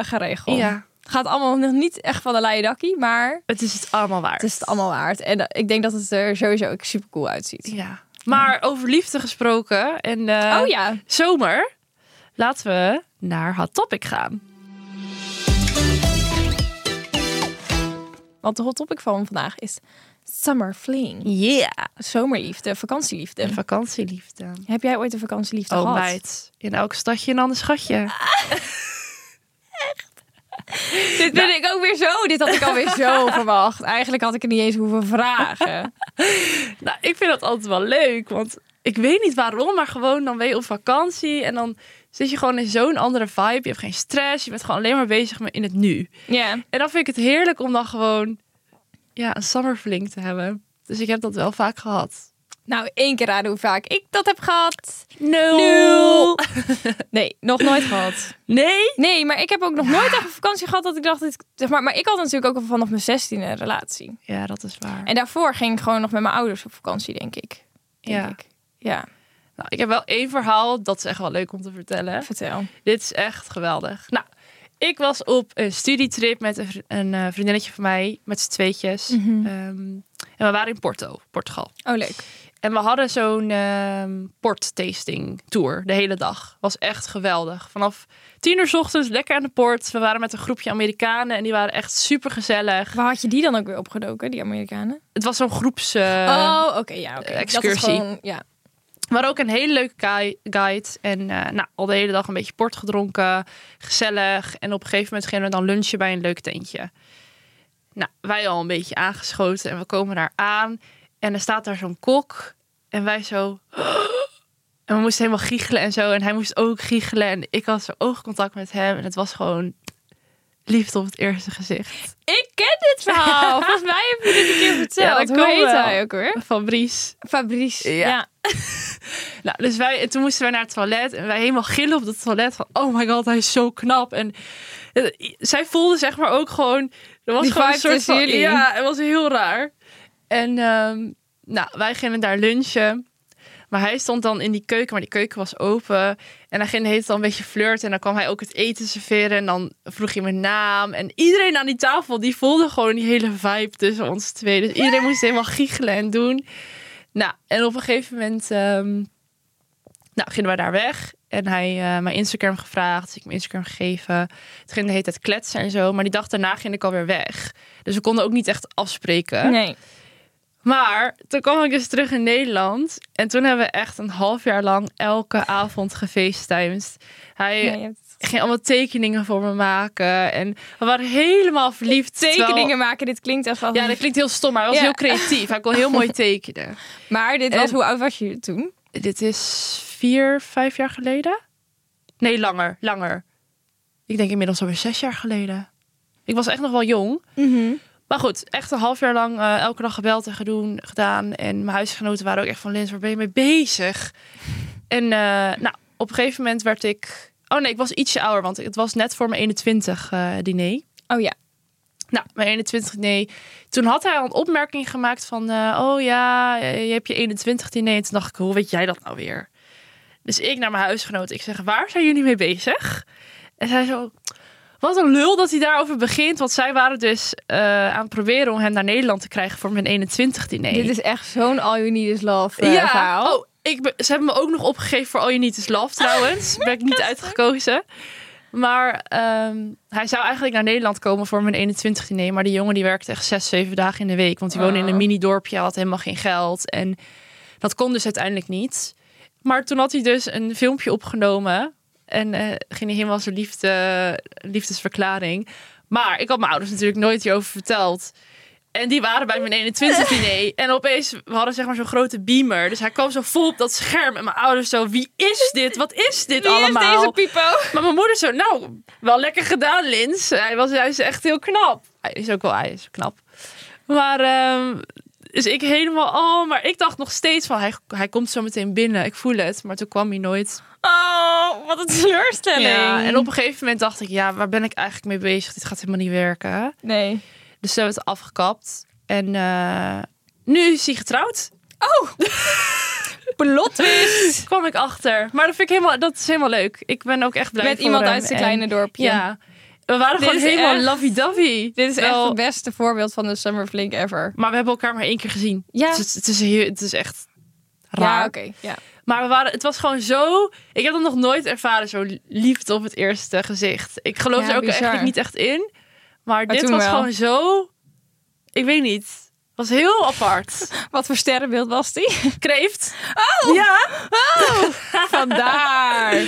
Speaker 2: geregeld.
Speaker 1: Ja.
Speaker 2: Gaat allemaal nog niet echt van de leien dakkie, maar
Speaker 1: Het is het allemaal waard.
Speaker 2: het is het allemaal waard. En eh, ik denk dat het er sowieso ook super cool uitziet.
Speaker 1: Ja. Maar over liefde gesproken en eh,
Speaker 2: oh ja.
Speaker 1: zomer, laten we naar Hot Topic gaan.
Speaker 2: Want de hot topic van vandaag is summer fling.
Speaker 1: Yeah.
Speaker 2: Zomerliefde, vakantieliefde.
Speaker 1: Vakantieliefde.
Speaker 2: Heb jij ooit een vakantieliefde
Speaker 1: Oh
Speaker 2: gehad?
Speaker 1: meid, in elk stadje een ander schatje.
Speaker 2: Dit ben ik ook weer zo. Dit had ik alweer zo verwacht. Eigenlijk had ik het niet eens hoeven vragen.
Speaker 1: Nou, ik vind dat altijd wel leuk, want ik weet niet waarom, maar gewoon dan ben je op vakantie en dan zit je gewoon in zo'n andere vibe. Je hebt geen stress, je bent gewoon alleen maar bezig met in het nu.
Speaker 2: Ja.
Speaker 1: En dan vind ik het heerlijk om dan gewoon ja, een summerfling te hebben. Dus ik heb dat wel vaak gehad.
Speaker 2: Nou, één keer raden hoe vaak ik dat heb gehad.
Speaker 1: Nul.
Speaker 2: Nee, nog nooit gehad.
Speaker 1: Nee?
Speaker 2: Nee, maar ik heb ook nog nooit echt een vakantie gehad dat ik dacht... dat ik- zeg maar, maar ik had natuurlijk ook al vanaf mijn zestiende een relatie.
Speaker 1: Ja, dat is waar.
Speaker 2: En daarvoor ging ik gewoon nog met mijn ouders op vakantie, denk ik. Denk
Speaker 1: Ja.
Speaker 2: Ik. Ja,
Speaker 1: Nou, ik heb wel één verhaal, dat is echt wel leuk om te vertellen.
Speaker 2: vertel.
Speaker 1: Dit is echt geweldig. Nou, ik was op een studietrip met een, vri- een eh, vriendinnetje van mij, met z'n tweetjes.
Speaker 2: Mhm.
Speaker 1: Ehm, en we waren in Porto, Portugal.
Speaker 2: Oh, leuk.
Speaker 1: En we hadden zo'n ehm port tasting tour de hele dag. Was echt geweldig. Vanaf tien uur 's ochtends lekker aan de port. We waren met een groepje Amerikanen en die waren echt super gezellig.
Speaker 2: Waar had je die dan ook weer opgedoken, die Amerikanen?
Speaker 1: Het was zo'n groeps. eh,
Speaker 2: oh, oké, ja, oké.
Speaker 1: eh,
Speaker 2: Dat is
Speaker 1: excursie.
Speaker 2: gewoon- ja.
Speaker 1: Maar ook een hele leuke gui- guide. En eh, nou, al de hele dag een beetje port gedronken. Gezellig. En op een gegeven moment gingen we dan lunchen bij een leuk tentje. Nou, wij al een beetje aangeschoten. En we komen daar aan. En er staat daar zo'n kok. En wij zo... En we moesten helemaal giechelen en zo. En hij moest ook giechelen. En ik had zo oogcontact met hem. En het was gewoon liefde op het eerste gezicht.
Speaker 2: Ik ken dit verhaal. Volgens mij heb je dit een keer verteld.
Speaker 1: Ja, dat
Speaker 2: Hoe
Speaker 1: kan
Speaker 2: heet
Speaker 1: wel.
Speaker 2: hij ook hoor?
Speaker 1: Fabrice.
Speaker 2: Fabrice.
Speaker 1: Ja.
Speaker 2: Ja.
Speaker 1: Nou, dus wij, en toen moesten wij naar het toilet en wij helemaal gillen op het toilet van, oh my god, hij is zo knap. En eh, zij voelde zeg maar ook gewoon, er was
Speaker 2: Die
Speaker 1: gewoon een
Speaker 2: vibe
Speaker 1: soort
Speaker 2: tussen
Speaker 1: van,
Speaker 2: jullie.
Speaker 1: ja, het was heel raar. En ehm, nou, wij gingen daar lunchen. Maar hij stond dan in die keuken, maar die keuken was open. En hij ging de hele tijd al een beetje flirten. En dan kwam hij ook het eten serveren. En dan vroeg hij mijn naam. En iedereen aan die tafel, die voelde gewoon die hele vibe tussen ons twee. Dus iedereen moest helemaal giechelen en doen. Nou, en op een gegeven moment ehm, nou, gingen wij daar weg. En hij eh, mijn Instagram gevraagd. Dus ik mijn Instagram gegeven. Het ging de hele tijd kletsen en zo. Maar die dag daarna ging ik alweer weg. Dus we konden ook niet echt afspreken.
Speaker 2: Nee.
Speaker 1: Maar toen kwam ik dus terug in Nederland. En toen hebben we echt een half jaar lang elke avond gefeestimed. Hij
Speaker 2: Ja, je hebt-
Speaker 1: ging allemaal tekeningen voor me maken. En we waren helemaal verliefd. terwijl-
Speaker 2: Tekeningen maken, dit klinkt echt wel.
Speaker 1: Ja, dat klinkt heel stom, maar hij was
Speaker 2: Ja.
Speaker 1: heel creatief. Hij kon heel mooi tekenen.
Speaker 2: Maar dit was,
Speaker 1: En-
Speaker 2: hoe oud was je toen?
Speaker 1: Dit is vier, vijf jaar geleden? Nee, langer, langer. Ik denk inmiddels alweer zes jaar geleden. Ik was echt nog wel jong. Maar goed, echt een half jaar lang eh, elke dag gebeld en gedoen, gedaan. En mijn huisgenoten waren ook echt van, Lins, waar ben je mee bezig? En eh, nou, op een op een gegeven moment werd ik... Oh nee, ik was ietsje ouder, want het was net voor mijn 21 eh diner.
Speaker 2: Oh ja.
Speaker 1: Nou, mijn 21 diner. Toen had hij al een opmerking gemaakt van... eh, oh ja, eh, je hebt je 21 diner. En toen dacht ik, hoe weet jij dat nou weer? Dus ik naar mijn huisgenoot. Ik zeg, waar zijn jullie mee bezig? En zij zo... Wat een lul dat hij daarover begint. Want zij waren dus eh, aan het proberen om hem naar Nederland te krijgen voor mijn 21 diner.
Speaker 2: Dit is echt zo'n all you need is love eh, verhaal.
Speaker 1: Oh, ik ben- ze hebben me ook nog opgegeven voor All You Need Is Love trouwens. ben ik niet uitgekozen. Maar ehm, hij zou eigenlijk naar Nederland komen voor mijn 21 diner. Maar die jongen die werkte echt zes, zeven dagen in de week. Want die woonde
Speaker 2: Oh.
Speaker 1: in een mini-dorpje, had helemaal geen geld. En dat kon dus uiteindelijk niet. Maar toen had hij dus een filmpje opgenomen. En eh, ging hij helemaal zijn liefde, liefdesverklaring. Maar ik had mijn ouders natuurlijk nooit hierover verteld. En die waren bij mijn 21 diner. En opeens, we hadden zeg maar zo'n grote beamer. Dus hij kwam zo vol op dat scherm. En mijn ouders zo, wie is dit? Wat is dit
Speaker 2: Wie is
Speaker 1: allemaal?
Speaker 2: deze Pipo?
Speaker 1: Maar mijn moeder zo, nou, wel lekker gedaan, Lins. Hij, was, hij is echt heel knap. Hij is ook wel, hij is knap. Maar, ehm, dus ik helemaal, oh, maar ik dacht nog steeds van, hij, hij komt zo meteen binnen. Ik voel het, maar toen kwam hij nooit.
Speaker 2: Oh, wat een teleurstelling.
Speaker 1: Ja, en op een gegeven moment dacht ik, ja, waar ben ik eigenlijk mee bezig? Dit gaat helemaal niet werken.
Speaker 2: Nee.
Speaker 1: Dus ze hebben het afgekapt. En eh, nu is hij getrouwd. Dus
Speaker 2: Oh! Plot twist.
Speaker 1: Kwam ik achter. Maar dat vind ik helemaal, dat is helemaal leuk. Ik ben ook echt blij
Speaker 2: Met
Speaker 1: voor
Speaker 2: iemand
Speaker 1: hem.
Speaker 2: uit zijn
Speaker 1: En-
Speaker 2: kleine dorpje.
Speaker 1: Ja. We waren
Speaker 2: Dit
Speaker 1: gewoon
Speaker 2: is
Speaker 1: helemaal
Speaker 2: echt-
Speaker 1: lovey-dovey.
Speaker 2: Dit is echt
Speaker 1: Wel-
Speaker 2: het beste voorbeeld van de Summer Flink ever.
Speaker 1: Maar we hebben elkaar maar één keer gezien.
Speaker 2: Ja.
Speaker 1: Dus het, het is, heel- het is echt raar.
Speaker 2: Ja, oké. Ja.
Speaker 1: Maar we waren, het was gewoon zo... Ik heb dat nog nooit ervaren, zo liefde op het eerste gezicht. Ik geloof
Speaker 2: Ja,
Speaker 1: er ook
Speaker 2: bizar.
Speaker 1: eigenlijk niet echt in. Maar, dit
Speaker 2: toen
Speaker 1: was
Speaker 2: wel.
Speaker 1: gewoon zo... Ik weet niet. Het was heel apart.
Speaker 2: Wat voor sterrenbeeld was die?
Speaker 1: Kreeft. Oh! Ja.
Speaker 2: Vandaar.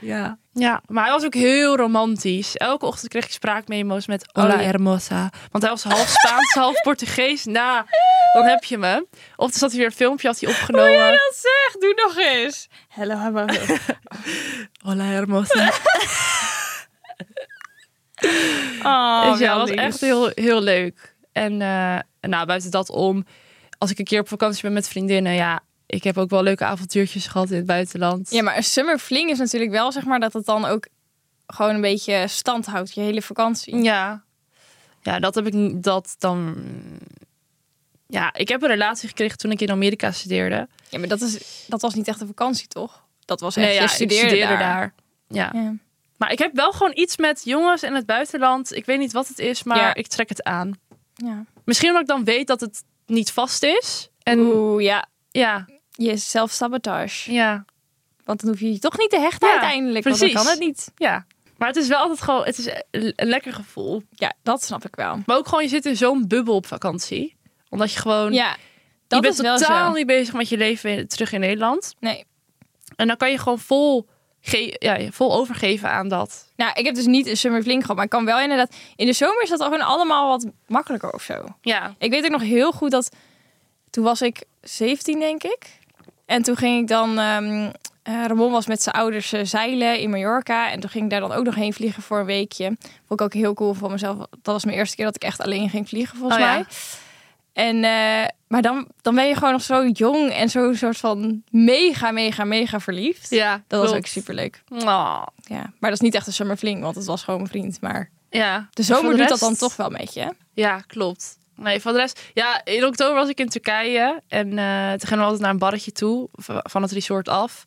Speaker 1: ja. Ja, maar hij was ook heel romantisch. Elke ochtend kreeg ik spraakmemo's met
Speaker 2: Oh,
Speaker 1: Hola
Speaker 2: ja.
Speaker 1: Hermosa. Want hij was half Spaans, half Portugees. Nou, dan heb je me. Of er zat hij weer een filmpje, had hij
Speaker 2: Oh
Speaker 1: opgenomen.
Speaker 2: Dat zeg, doe nog eens. Hello, hello.
Speaker 1: Hola Hermosa.
Speaker 2: Oh,
Speaker 1: Dus ja,
Speaker 2: wel
Speaker 1: dat was
Speaker 2: lief.
Speaker 1: echt heel, heel leuk. En eh, en nou, buiten dat om, als ik een keer op vakantie ben met vriendinnen, ja, ik heb ook wel leuke avontuurtjes gehad in het buitenland.
Speaker 2: Ja, maar een Summer Fling is natuurlijk wel zeg maar dat het dan ook gewoon een beetje stand houdt je hele vakantie.
Speaker 1: ja. Ja, dat heb ik n- dat dan. Ja, ik heb een relatie gekregen toen ik in Amerika studeerde.
Speaker 2: Ja, maar dat, is, dat was niet echt een vakantie, toch? Dat was echt,
Speaker 1: ja,
Speaker 2: je
Speaker 1: ik
Speaker 2: studeerde, daar.
Speaker 1: Ja.
Speaker 2: Ja.
Speaker 1: Maar ik heb wel gewoon iets met jongens en het buitenland. Ik weet niet wat het is, maar
Speaker 2: Ja.
Speaker 1: ik trek het aan.
Speaker 2: ja.
Speaker 1: Misschien omdat ik dan weet dat het niet vast is. En
Speaker 2: Oeh, ja.
Speaker 1: ja,
Speaker 2: Je zelfsabotage.
Speaker 1: ja.
Speaker 2: Want dan hoef je je toch niet te hechten
Speaker 1: Ja,
Speaker 2: uiteindelijk. Want
Speaker 1: precies.
Speaker 2: dan kan het niet.
Speaker 1: Ja. Maar het is wel altijd gewoon, het is een een lekker gevoel.
Speaker 2: Ja, dat snap ik wel.
Speaker 1: Maar ook gewoon, je zit in zo'n bubbel op vakantie. Omdat je gewoon,
Speaker 2: Ja,
Speaker 1: je
Speaker 2: dat
Speaker 1: bent
Speaker 2: is wel
Speaker 1: totaal
Speaker 2: zo.
Speaker 1: niet bezig met je leven in- terug in Nederland.
Speaker 2: Nee.
Speaker 1: En dan kan je gewoon vol, ge- ja, vol overgeven aan dat.
Speaker 2: Nou, ik heb dus niet een summer flink gehad, maar ik kan wel inderdaad... In de zomer is dat gewoon allemaal wat makkelijker of zo.
Speaker 1: Ja.
Speaker 2: Ik weet ook nog heel goed dat... Toen was ik 17, denk ik. En toen ging ik dan... ehm, eh, Ramon was met zijn ouders eh, zeilen in Mallorca. En toen ging ik daar dan ook nog heen vliegen voor een weekje. Vond ik ook heel cool van mezelf. Dat was mijn eerste keer dat ik echt alleen ging vliegen, volgens
Speaker 1: Oh ja.
Speaker 2: mij. En, eh, maar dan, dan ben je gewoon nog zo jong en zo soort van mega, mega, mega verliefd.
Speaker 1: Ja.
Speaker 2: Dat was
Speaker 1: klopt.
Speaker 2: ook superleuk.
Speaker 1: Oh,
Speaker 2: Ja. Maar dat is niet echt een summerfling, want het was gewoon mijn vriend. Maar
Speaker 1: ja.
Speaker 2: de
Speaker 1: Voor
Speaker 2: zomer
Speaker 1: de
Speaker 2: doet dat
Speaker 1: rest-
Speaker 2: dan toch wel met je. hè?
Speaker 1: Ja, klopt. Nee, van de rest. Ja, in oktober was ik in Turkije. En eh, toen gingen we altijd naar een barretje toe. v- Van het resort af.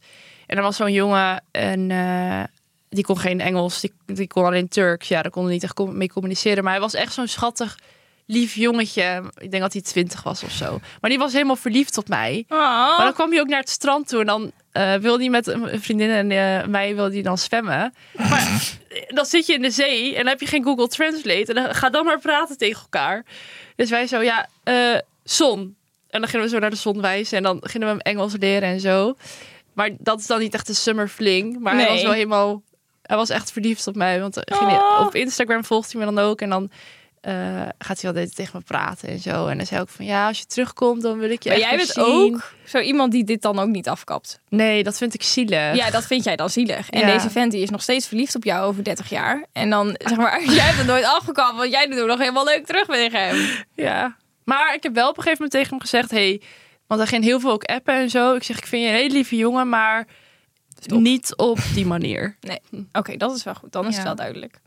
Speaker 1: En er was zo'n jongen. En eh, die kon geen Engels. Die, die kon alleen Turks. Ja, daar kon hij niet echt com- mee communiceren. Maar hij was echt zo'n schattig, lief jongetje. Ik denk dat hij twintig was of zo. Maar die was helemaal verliefd op mij. Maar
Speaker 2: Oh.
Speaker 1: dan kwam hij ook naar het strand toe en dan eh, wilde hij met een vriendin en eh, mij wilde hij dan zwemmen. Maar dan zit je in de zee en dan heb je geen Google Translate en dan ga dan maar praten tegen elkaar. Dus wij zo, ja, eh, zon. En dan gingen we zo naar de zon wijzen en dan gingen we hem Engels leren en zo. Maar dat is dan niet echt een summer fling, maar hij
Speaker 2: Nee.
Speaker 1: was wel helemaal... Hij was echt verliefd op mij, want dan ging
Speaker 2: Oh.
Speaker 1: hij, op Instagram volgt hij me dan ook en dan... eh, gaat hij wel de hele tijd tegen me praten en zo. En dan zei ik van ja, als je terugkomt, dan wil ik je
Speaker 2: Maar
Speaker 1: echt
Speaker 2: jij
Speaker 1: weer
Speaker 2: bent
Speaker 1: zien.
Speaker 2: ook zo iemand die dit dan ook niet afkapt.
Speaker 1: Nee, dat vind ik zielig.
Speaker 2: Ja, dat vind jij dan zielig. En
Speaker 1: Ja.
Speaker 2: deze vent die is nog steeds verliefd op jou over 30 jaar. En dan zeg maar, jij hebt het nooit afgekapt, want jij doet nog helemaal leuk terug met hem.
Speaker 1: Ja. Maar ik heb wel op een gegeven moment tegen hem gezegd... Hey, want hij ging heel veel ook appen en zo. Ik zeg, ik vind je een hele lieve jongen, maar...
Speaker 2: Stop.
Speaker 1: Niet op die manier.
Speaker 2: Oké, dat is wel goed. Dan is het
Speaker 1: Ja.
Speaker 2: wel duidelijk.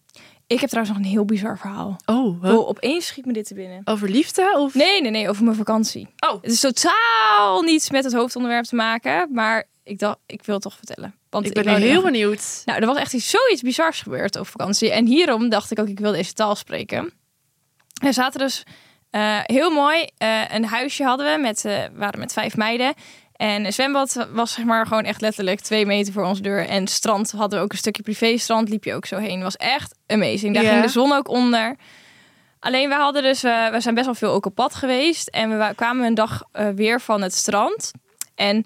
Speaker 2: Ik heb trouwens nog een heel bizar verhaal.
Speaker 1: Oh, huh?
Speaker 2: Oh, opeens schiet me dit te binnen.
Speaker 1: over liefde? Of...
Speaker 2: Nee, nee, nee, over mijn vakantie.
Speaker 1: Oh.
Speaker 2: Het is totaal niets met het hoofdonderwerp te maken, maar ik dacht, ik wil het toch vertellen. Want
Speaker 1: Ik ben nu
Speaker 2: wou
Speaker 1: heel
Speaker 2: nog-
Speaker 1: benieuwd.
Speaker 2: Nou, er was echt iets, zoiets bizars gebeurd op vakantie. En hierom dacht ik ook, ik wil deze taal spreken. Er zaten dus eh, heel mooi eh, een huisje hadden we. Met, eh, we waren met vijf meiden. En een zwembad was zeg maar gewoon echt letterlijk twee meter voor onze deur. En strand hadden we ook een stukje privéstrand. Liep je ook zo heen. Was echt amazing. Daar
Speaker 1: Ja.
Speaker 2: ging de zon ook onder. Alleen we hadden dus, eh, we zijn best wel veel ook op pad geweest. En we wa- kwamen een dag eh, weer van het strand. En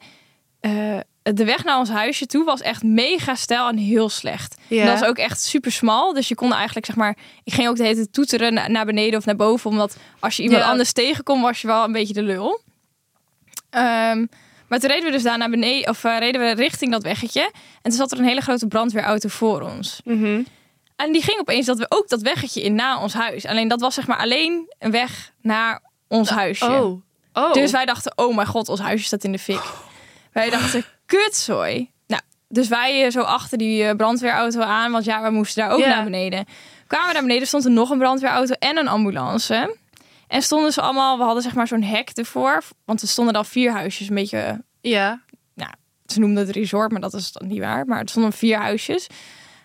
Speaker 2: eh, de weg naar ons huisje toe was echt mega stijl en heel slecht.
Speaker 1: Ja.
Speaker 2: En dat was ook echt super smal. Dus je kon eigenlijk, zeg maar, ik ging ook de hele tijd toeteren na- naar beneden of naar boven. Omdat als je iemand
Speaker 1: Ja.
Speaker 2: anders tegenkomt, was je wel een beetje de lul. Ehm, maar toen reden we dus daar naar beneden, of eh, reden we richting dat weggetje. En toen zat er een hele grote brandweerauto voor ons.
Speaker 1: Mhm.
Speaker 2: En die ging opeens dat we ook dat weggetje in na ons huis. Alleen dat was zeg maar alleen een weg naar ons huisje.
Speaker 1: Oh. oh.
Speaker 2: Dus wij dachten, oh mijn god, ons huisje staat in de fik. Wij dachten, kutzooi. Nou, dus wij eh, zo achter die eh, brandweerauto aan, want ja, we moesten daar ook
Speaker 1: Ja.
Speaker 2: naar beneden. Kwamen we naar beneden, stond er nog een brandweerauto en een ambulance. En stonden ze allemaal, we hadden zeg maar zo'n hek ervoor. Want er stonden dan vier huisjes, een beetje eh,
Speaker 1: Ja.
Speaker 2: ze noemden het resort, maar dat is dan niet waar. Maar het stonden vier huisjes.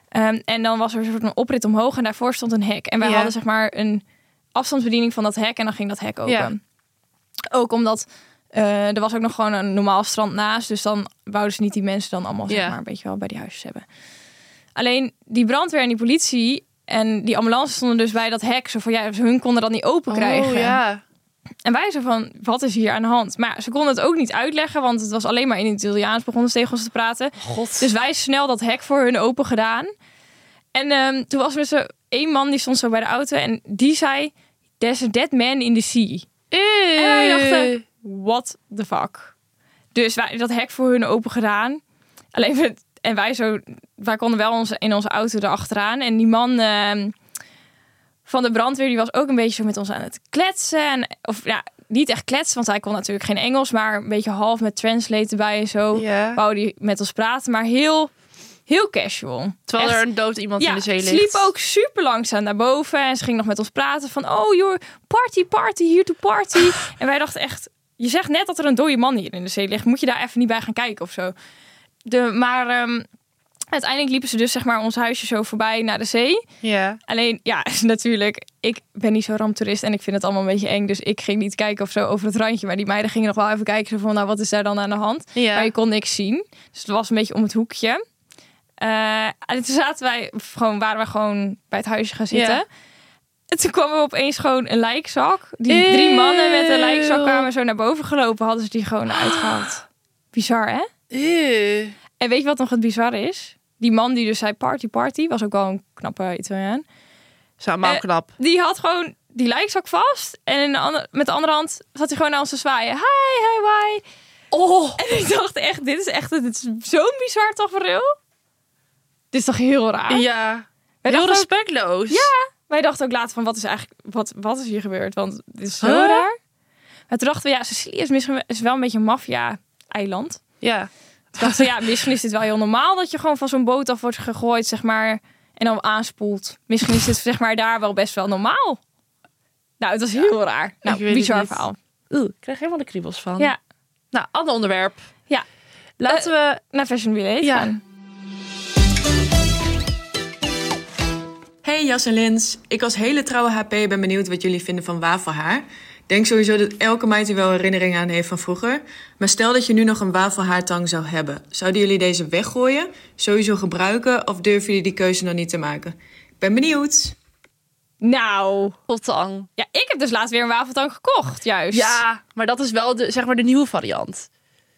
Speaker 2: Ehm, en dan was er een soort van oprit omhoog en daarvoor stond een hek. En wij
Speaker 1: Ja.
Speaker 2: hadden zeg maar een afstandsbediening van dat hek en dan ging dat hek open.
Speaker 1: Ja.
Speaker 2: Ook omdat eh, er was ook nog gewoon een normaal strand naast. Dus dan wouden ze niet die mensen dan allemaal zeg
Speaker 1: Ja.
Speaker 2: maar een beetje wel bij die huisjes hebben. Alleen die brandweer en die politie en die ambulance stonden dus bij dat hek. Zo van, ja, ze- hun konden dat niet open krijgen.
Speaker 1: Oh, ja.
Speaker 2: En wij zo van, wat is hier aan de hand? Maar ja, ze konden het ook niet uitleggen, want het was alleen maar in het Italiaans begonnen ze tegen ons te praten.
Speaker 1: God.
Speaker 2: Dus wij snel dat hek voor hun open gedaan. En ehm, toen was er zo één man die stond zo bij de auto en die zei, there's a dead man in the sea. En wij dachten, what the fuck? Dus wij dat hek voor hun open gedaan. Alleen we, en wij zo, wij konden wel onze, in onze auto erachteraan. En die man ehm, van de brandweer, die was ook een beetje zo met ons aan het kletsen. En, of ja, niet echt kletsen, want hij kon natuurlijk geen Engels, maar een beetje half met translate erbij en zo.
Speaker 1: Ja.
Speaker 2: Wou die met ons praten, maar heel, heel casual.
Speaker 1: Terwijl
Speaker 2: Echt
Speaker 1: er een dood iemand in de zee
Speaker 2: ze
Speaker 1: ligt.
Speaker 2: liep ook super langzaam naar boven en ze ging nog met ons praten van oh joh, party, party, hier to party. en wij dachten echt, je zegt net dat er een dode man hier in de zee ligt, moet je daar even niet bij gaan kijken of zo. De, maar ehm, uiteindelijk liepen ze dus zeg maar ons huisje zo voorbij naar de zee.
Speaker 1: Ja.
Speaker 2: Alleen ja, natuurlijk, ik ben niet zo ramptoerist en ik vind het allemaal een beetje eng, dus ik ging niet kijken of zo over het randje. Maar die meiden gingen nog wel even kijken zo van nou wat is daar dan aan de hand.
Speaker 1: Ja.
Speaker 2: Maar je kon niks zien. Dus het was een beetje om het hoekje. Eh, en toen zaten wij, of gewoon, waren we gewoon bij het huisje gaan zitten.
Speaker 1: Ja.
Speaker 2: En toen kwam er opeens gewoon een lijkzak. Die
Speaker 1: Eeuw.
Speaker 2: drie mannen met een lijkzak kwamen zo naar boven gelopen. Hadden ze die gewoon uitgehaald. Bizar, hè?
Speaker 1: Eeuw.
Speaker 2: En weet je wat nog het bizar is? Die man die dus zei party party, was ook wel een knappe Italiaan.
Speaker 1: Zo, maar
Speaker 2: Eh,
Speaker 1: knap.
Speaker 2: Die had gewoon die lijkzak vast. En in de ander- met de andere hand zat hij gewoon naar ons te zwaaien. Hi, hi, hi.
Speaker 1: Oh.
Speaker 2: En ik dacht echt, dit is echt dit is zo'n bizar tafereel. Dit is toch heel raar?
Speaker 1: Ja.
Speaker 2: wij,
Speaker 1: Heel
Speaker 2: dachten ook,
Speaker 1: respectloos.
Speaker 2: Ja. wij dachten ook later van, wat is eigenlijk, wat, wat is hier gebeurd? Want dit is zo
Speaker 1: Huh?
Speaker 2: raar. Maar toen dachten we, ja, Sicilië is, misschien, is wel een beetje een maffia-eiland.
Speaker 1: Ja.
Speaker 2: Toen dachten we, ja, misschien is dit wel heel normaal dat je gewoon van zo'n boot af wordt gegooid, zeg maar, en dan aanspoelt. Misschien is dit, zeg maar, daar wel best wel normaal. Nou, het was heel raar.
Speaker 1: weet het
Speaker 2: Nou, bizar
Speaker 1: niet.
Speaker 2: verhaal.
Speaker 1: Oeh, ik krijg helemaal de kriebels van.
Speaker 2: Ja,
Speaker 1: Nou, ander onderwerp.
Speaker 2: Ja.
Speaker 1: Laten we...
Speaker 2: naar Fashion Village
Speaker 1: Ja.
Speaker 2: gaan.
Speaker 4: Hey Jas en Lins, ik als hele trouwe HP ben benieuwd wat jullie vinden van wafelhaar. Denk sowieso dat elke meid er wel herinneringen aan heeft van vroeger. Maar stel dat je nu nog een wafelhaartang zou hebben. Zouden jullie deze weggooien, sowieso gebruiken of durven jullie die keuze nog niet te maken? Ik ben benieuwd.
Speaker 2: Nou,
Speaker 1: Potang.
Speaker 2: Ja, ik heb dus laatst weer een wafeltang gekocht, juist.
Speaker 1: Ja, maar dat is wel de, zeg maar de nieuwe variant.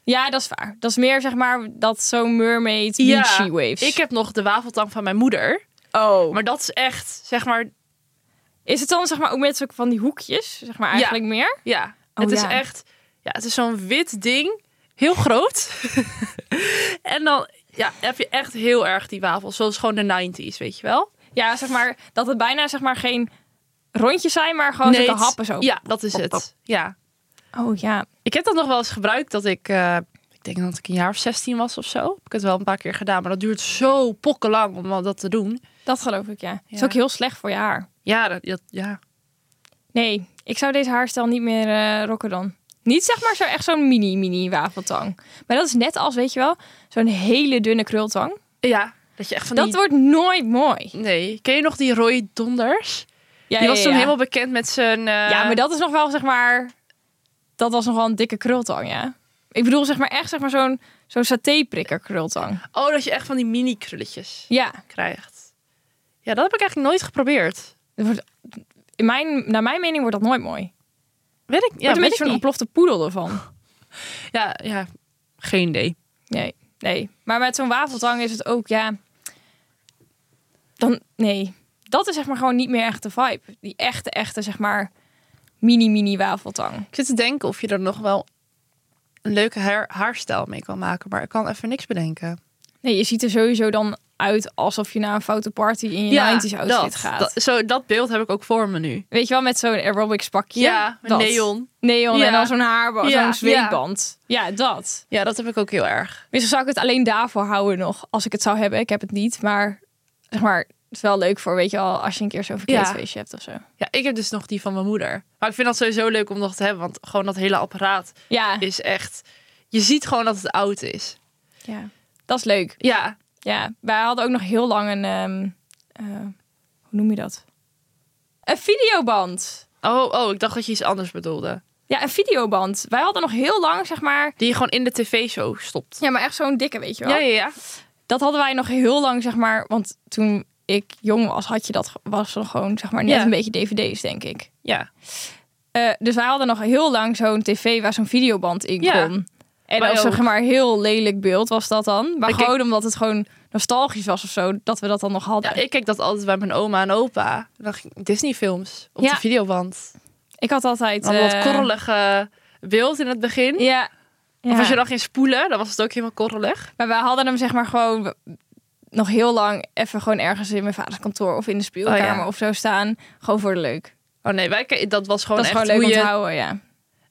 Speaker 2: Ja, dat is waar. Dat is meer, zeg maar, dat zo'n mermaid beachy waves.
Speaker 1: Ik heb nog de wafeltang van mijn moeder.
Speaker 2: Oh.
Speaker 1: Maar dat is echt, zeg maar,
Speaker 2: Is het dan, zeg maar, ook met zo'n van die hoekjes, zeg maar,
Speaker 1: Ja.
Speaker 2: eigenlijk meer?
Speaker 1: ja.
Speaker 2: Oh,
Speaker 1: het is
Speaker 2: ja.
Speaker 1: echt, ja, het is zo'n wit ding. Heel groot. en dan ja, heb je echt heel erg die wafels. Zoals gewoon de 90s, weet je wel?
Speaker 2: Ja, zeg maar, dat het bijna, zeg maar, geen rondjes zijn, maar gewoon
Speaker 1: het-
Speaker 2: zulke happen zo.
Speaker 1: Ja, dat is het. Ja.
Speaker 2: Oh, ja.
Speaker 1: Ik heb dat nog wel eens gebruikt dat ik. eh, ik ik denk dat ik een jaar of 16 was of zo. Heb ik het wel een paar keer gedaan, maar dat duurt zo pokkenlang om al dat te doen.
Speaker 2: Dat geloof ik, ja.
Speaker 1: Ja.
Speaker 2: is ook heel slecht voor je haar.
Speaker 1: Ja, dat, dat- ja.
Speaker 2: Nee, ik zou deze haarstijl niet meer eh, rocken dan. Niet zeg maar zo echt zo'n mini, mini wafeltang. Maar dat is net als, weet je wel, zo'n hele dunne krultang.
Speaker 1: ja, dat je echt van
Speaker 2: dat
Speaker 1: die...
Speaker 2: wordt nooit mooi.
Speaker 1: Nee, ken je nog die Roy Donders?
Speaker 2: Ja,
Speaker 1: die was
Speaker 2: ja,
Speaker 1: toen
Speaker 2: ja.
Speaker 1: helemaal bekend met zijn... eh,
Speaker 2: Ja, maar dat is nog wel, zeg maar... Dat was nog wel een dikke krultang, ja. Ik bedoel, zeg maar echt zeg maar zo'n zo'n satéprikker krultang.
Speaker 1: Oh, dat je echt van die mini-krulletjes
Speaker 2: Ja,
Speaker 1: krijgt. Ja, dat heb ik eigenlijk nooit geprobeerd.
Speaker 2: dat wordt, in mijn, naar mijn mening wordt dat nooit mooi.
Speaker 1: Weet ik, ja,
Speaker 2: wordt een
Speaker 1: weet
Speaker 2: beetje
Speaker 1: ik
Speaker 2: zo'n
Speaker 1: niet.
Speaker 2: ontplofte poedel ervan.
Speaker 1: Ja, ja, geen idee.
Speaker 2: Nee, nee. Maar met zo'n wafeltang is het ook, ja. Dan, nee. Dat is zeg maar gewoon niet meer echt de vibe. Die echte, echte, zeg maar, mini-mini wafeltang.
Speaker 1: Ik zit te denken of je er nog wel een leuke haar, haarstijl mee kan maken, maar ik kan even niks bedenken.
Speaker 2: Nee, je ziet er sowieso dan uit alsof je naar een foute party in je 90s outfit
Speaker 1: dat,
Speaker 2: gaat.
Speaker 1: Dat, zo, dat beeld heb ik ook voor me nu.
Speaker 2: Weet je wel, met zo'n aerobics pakje.
Speaker 1: met
Speaker 2: dat.
Speaker 1: neon.
Speaker 2: Neon
Speaker 1: Ja.
Speaker 2: en dan zo'n haarband,
Speaker 1: Ja,
Speaker 2: zo'n zweetband. Ja. dat.
Speaker 1: Ja, dat heb ik ook heel erg.
Speaker 2: Misschien zou ik het alleen daarvoor houden nog, als ik het zou hebben. Ik heb het niet, maar zeg maar, het is wel leuk voor, weet je wel, als je een keer zo'n verkleedfeestje hebt of zo.
Speaker 1: Ja, ik heb dus nog die van mijn moeder. Maar ik vind dat sowieso leuk om nog te hebben, want gewoon dat hele apparaat
Speaker 2: Ja,
Speaker 1: is echt... Je ziet gewoon dat het oud is.
Speaker 2: ja. dat is leuk.
Speaker 1: Ja,
Speaker 2: Ja, wij hadden ook nog heel lang een. ehm, eh, hoe noem je dat? Een videoband.
Speaker 1: oh, oh, ik dacht dat je iets anders bedoelde.
Speaker 2: Ja, een videoband. Wij hadden nog heel lang, zeg maar.
Speaker 1: Die je gewoon in de tv-show stopt.
Speaker 2: Ja, maar echt zo'n dikke, weet je wel.
Speaker 1: Ja, ja, ja.
Speaker 2: Dat hadden wij nog heel lang, zeg maar. Want toen ik jong was, had je dat ge- was nog gewoon, zeg maar, net
Speaker 1: Ja.
Speaker 2: een beetje DVD's, denk ik.
Speaker 1: Ja,
Speaker 2: Eh, dus wij hadden nog heel lang zo'n tv waar zo'n videoband in
Speaker 1: Ja.
Speaker 2: kon. En
Speaker 1: Wij
Speaker 2: ook zeg
Speaker 1: ook.
Speaker 2: maar heel lelijk beeld was dat dan. Maar
Speaker 1: Ik-
Speaker 2: gewoon omdat het gewoon nostalgisch was of zo, dat we dat dan nog hadden.
Speaker 1: ja ik kijk dat altijd bij mijn oma en opa. Dan ging ik Disney-films op
Speaker 2: Ja.
Speaker 1: de videoband.
Speaker 2: Ik had altijd...
Speaker 1: Dan dat
Speaker 2: eh,
Speaker 1: korrelige beeld in het begin.
Speaker 2: Ja.
Speaker 1: Of als
Speaker 2: Ja.
Speaker 1: je dan ging spoelen, dan was het ook helemaal korrelig.
Speaker 2: Maar wij hadden hem zeg maar gewoon nog heel lang even gewoon ergens in mijn vaders kantoor of in de speelkamer
Speaker 1: Oh ja.
Speaker 2: of zo staan. Gewoon voor de leuk.
Speaker 1: Oh nee, wij, ke- dat was gewoon
Speaker 2: dat is
Speaker 1: echt
Speaker 2: gewoon leuk om
Speaker 1: hoe
Speaker 2: te
Speaker 1: je...
Speaker 2: houden, ja.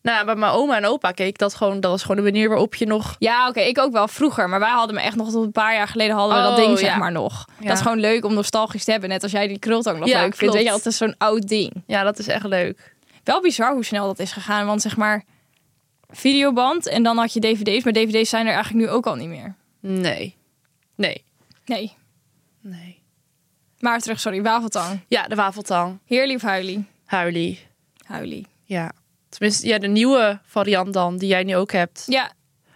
Speaker 1: Nou, ja, bij mijn oma en opa keek dat gewoon... Dat was gewoon de manier waarop je nog...
Speaker 2: Ja, oké, ik ook wel vroeger. Maar wij hadden me echt nog tot een paar jaar geleden hadden we dat
Speaker 1: Oh,
Speaker 2: ding
Speaker 1: ja.
Speaker 2: zeg maar nog.
Speaker 1: Ja.
Speaker 2: Dat is gewoon leuk om nostalgisch te hebben. Net als jij die krultang nog
Speaker 1: Ja,
Speaker 2: leuk vindt.
Speaker 1: klopt.
Speaker 2: Weet je, dat is zo'n oud ding.
Speaker 1: Ja, dat is echt leuk.
Speaker 2: Wel bizar hoe snel dat is gegaan. Want zeg maar, videoband en dan had je dvd's. Maar dvd's zijn er eigenlijk nu ook al niet meer.
Speaker 1: Nee. Nee.
Speaker 2: Nee.
Speaker 1: Nee.
Speaker 2: Maar terug, sorry, wafeltang.
Speaker 1: Ja, de wafeltang.
Speaker 2: Heerlijk of huilie?
Speaker 1: Huilie.
Speaker 2: Huilie.
Speaker 1: Ja. Tenminste, ja, de nieuwe variant dan, die jij nu ook hebt.
Speaker 2: Ja,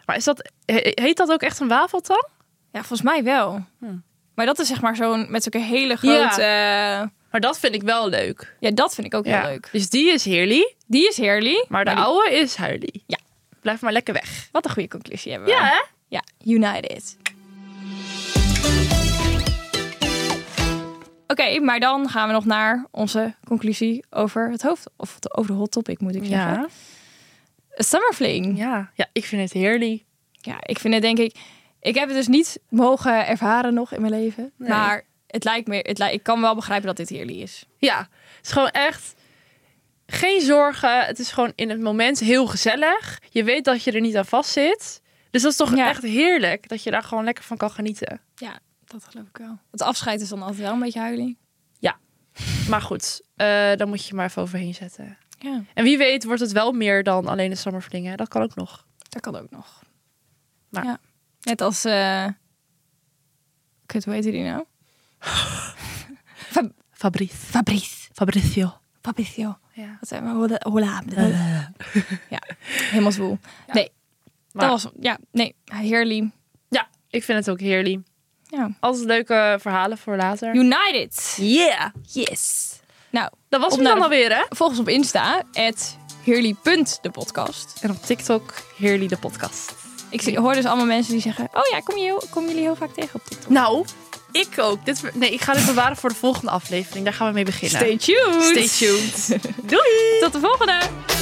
Speaker 1: Maar is dat, he- heet dat ook echt een wafeltang?
Speaker 2: Ja, volgens mij wel. Maar dat is zeg maar zo'n met zulke hele grote. Ja,
Speaker 1: Maar dat vind ik wel leuk.
Speaker 2: ja dat vind ik ook heel leuk.
Speaker 1: Dus die is heerlijk,
Speaker 2: Die is Heerly.
Speaker 1: maar de
Speaker 2: die-
Speaker 1: oude is huilie.
Speaker 2: Ja.
Speaker 1: Blijf maar lekker weg.
Speaker 2: Wat een goede conclusie hebben we.
Speaker 1: hè?
Speaker 2: Ja, United. Oké, maar dan gaan we nog naar onze conclusie over het hoofd. Of de- over de hot topic, moet ik zeggen.
Speaker 1: Ja.
Speaker 2: Summerfling.
Speaker 1: Ja. ja, ik vind het heerlijk.
Speaker 2: Ja, ik vind het denk ik. Ik heb het dus niet mogen ervaren nog in mijn leven.
Speaker 1: Nee.
Speaker 2: Maar het lijkt me. Het lijkt, ik kan wel begrijpen dat dit Heerly is.
Speaker 1: Ja, het is gewoon echt geen zorgen. Het is gewoon in het moment heel gezellig. Je weet dat je er niet aan vast zit. Dus dat is toch
Speaker 2: Ja.
Speaker 1: echt heerlijk dat je daar gewoon lekker van kan genieten.
Speaker 2: Ja, dat geloof ik wel. Het afscheid is dan altijd wel een beetje huiling.
Speaker 1: Maar goed, eh dan moet je je maar even overheen zetten.
Speaker 2: Ja,
Speaker 1: En wie weet wordt het wel meer dan alleen de summerflingen. Dat kan ook nog.
Speaker 2: dat kan ook nog. Nou.
Speaker 1: Maar-
Speaker 2: Ja. Net als... eh Kut, hoe heet die nou?
Speaker 1: Fabrice.
Speaker 2: Fabrice.
Speaker 1: Fabricio.
Speaker 2: Fabricio. Eh.
Speaker 1: Ja.
Speaker 2: Wat zijn we? Hola. hola. Ja, helemaal zwoel. Nee,
Speaker 1: Maar-
Speaker 2: dat was... Ja, nee. Heerly.
Speaker 1: ja, ik vind het ook heerlijk.
Speaker 2: Ja.
Speaker 1: Altijd leuke verhalen voor later.
Speaker 2: United.
Speaker 1: Yeah.
Speaker 2: Yes. Nou,
Speaker 1: Dat was
Speaker 2: Op
Speaker 1: het
Speaker 2: naar
Speaker 1: dan
Speaker 2: de-
Speaker 1: alweer, hè?
Speaker 2: volgens op Insta, at de podcast.
Speaker 1: En op TikTok, Heerly de podcast.
Speaker 2: Ik zie- hoor dus allemaal mensen die zeggen... Oh ja, kom je heel, komen jullie heel vaak tegen op TikTok?
Speaker 1: Nou, ik ook. Dit, nee, ik ga dit bewaren voor de volgende aflevering. Daar gaan we mee beginnen.
Speaker 2: Nou, tuned.
Speaker 1: Stay tuned. Doei!
Speaker 2: Tot de volgende.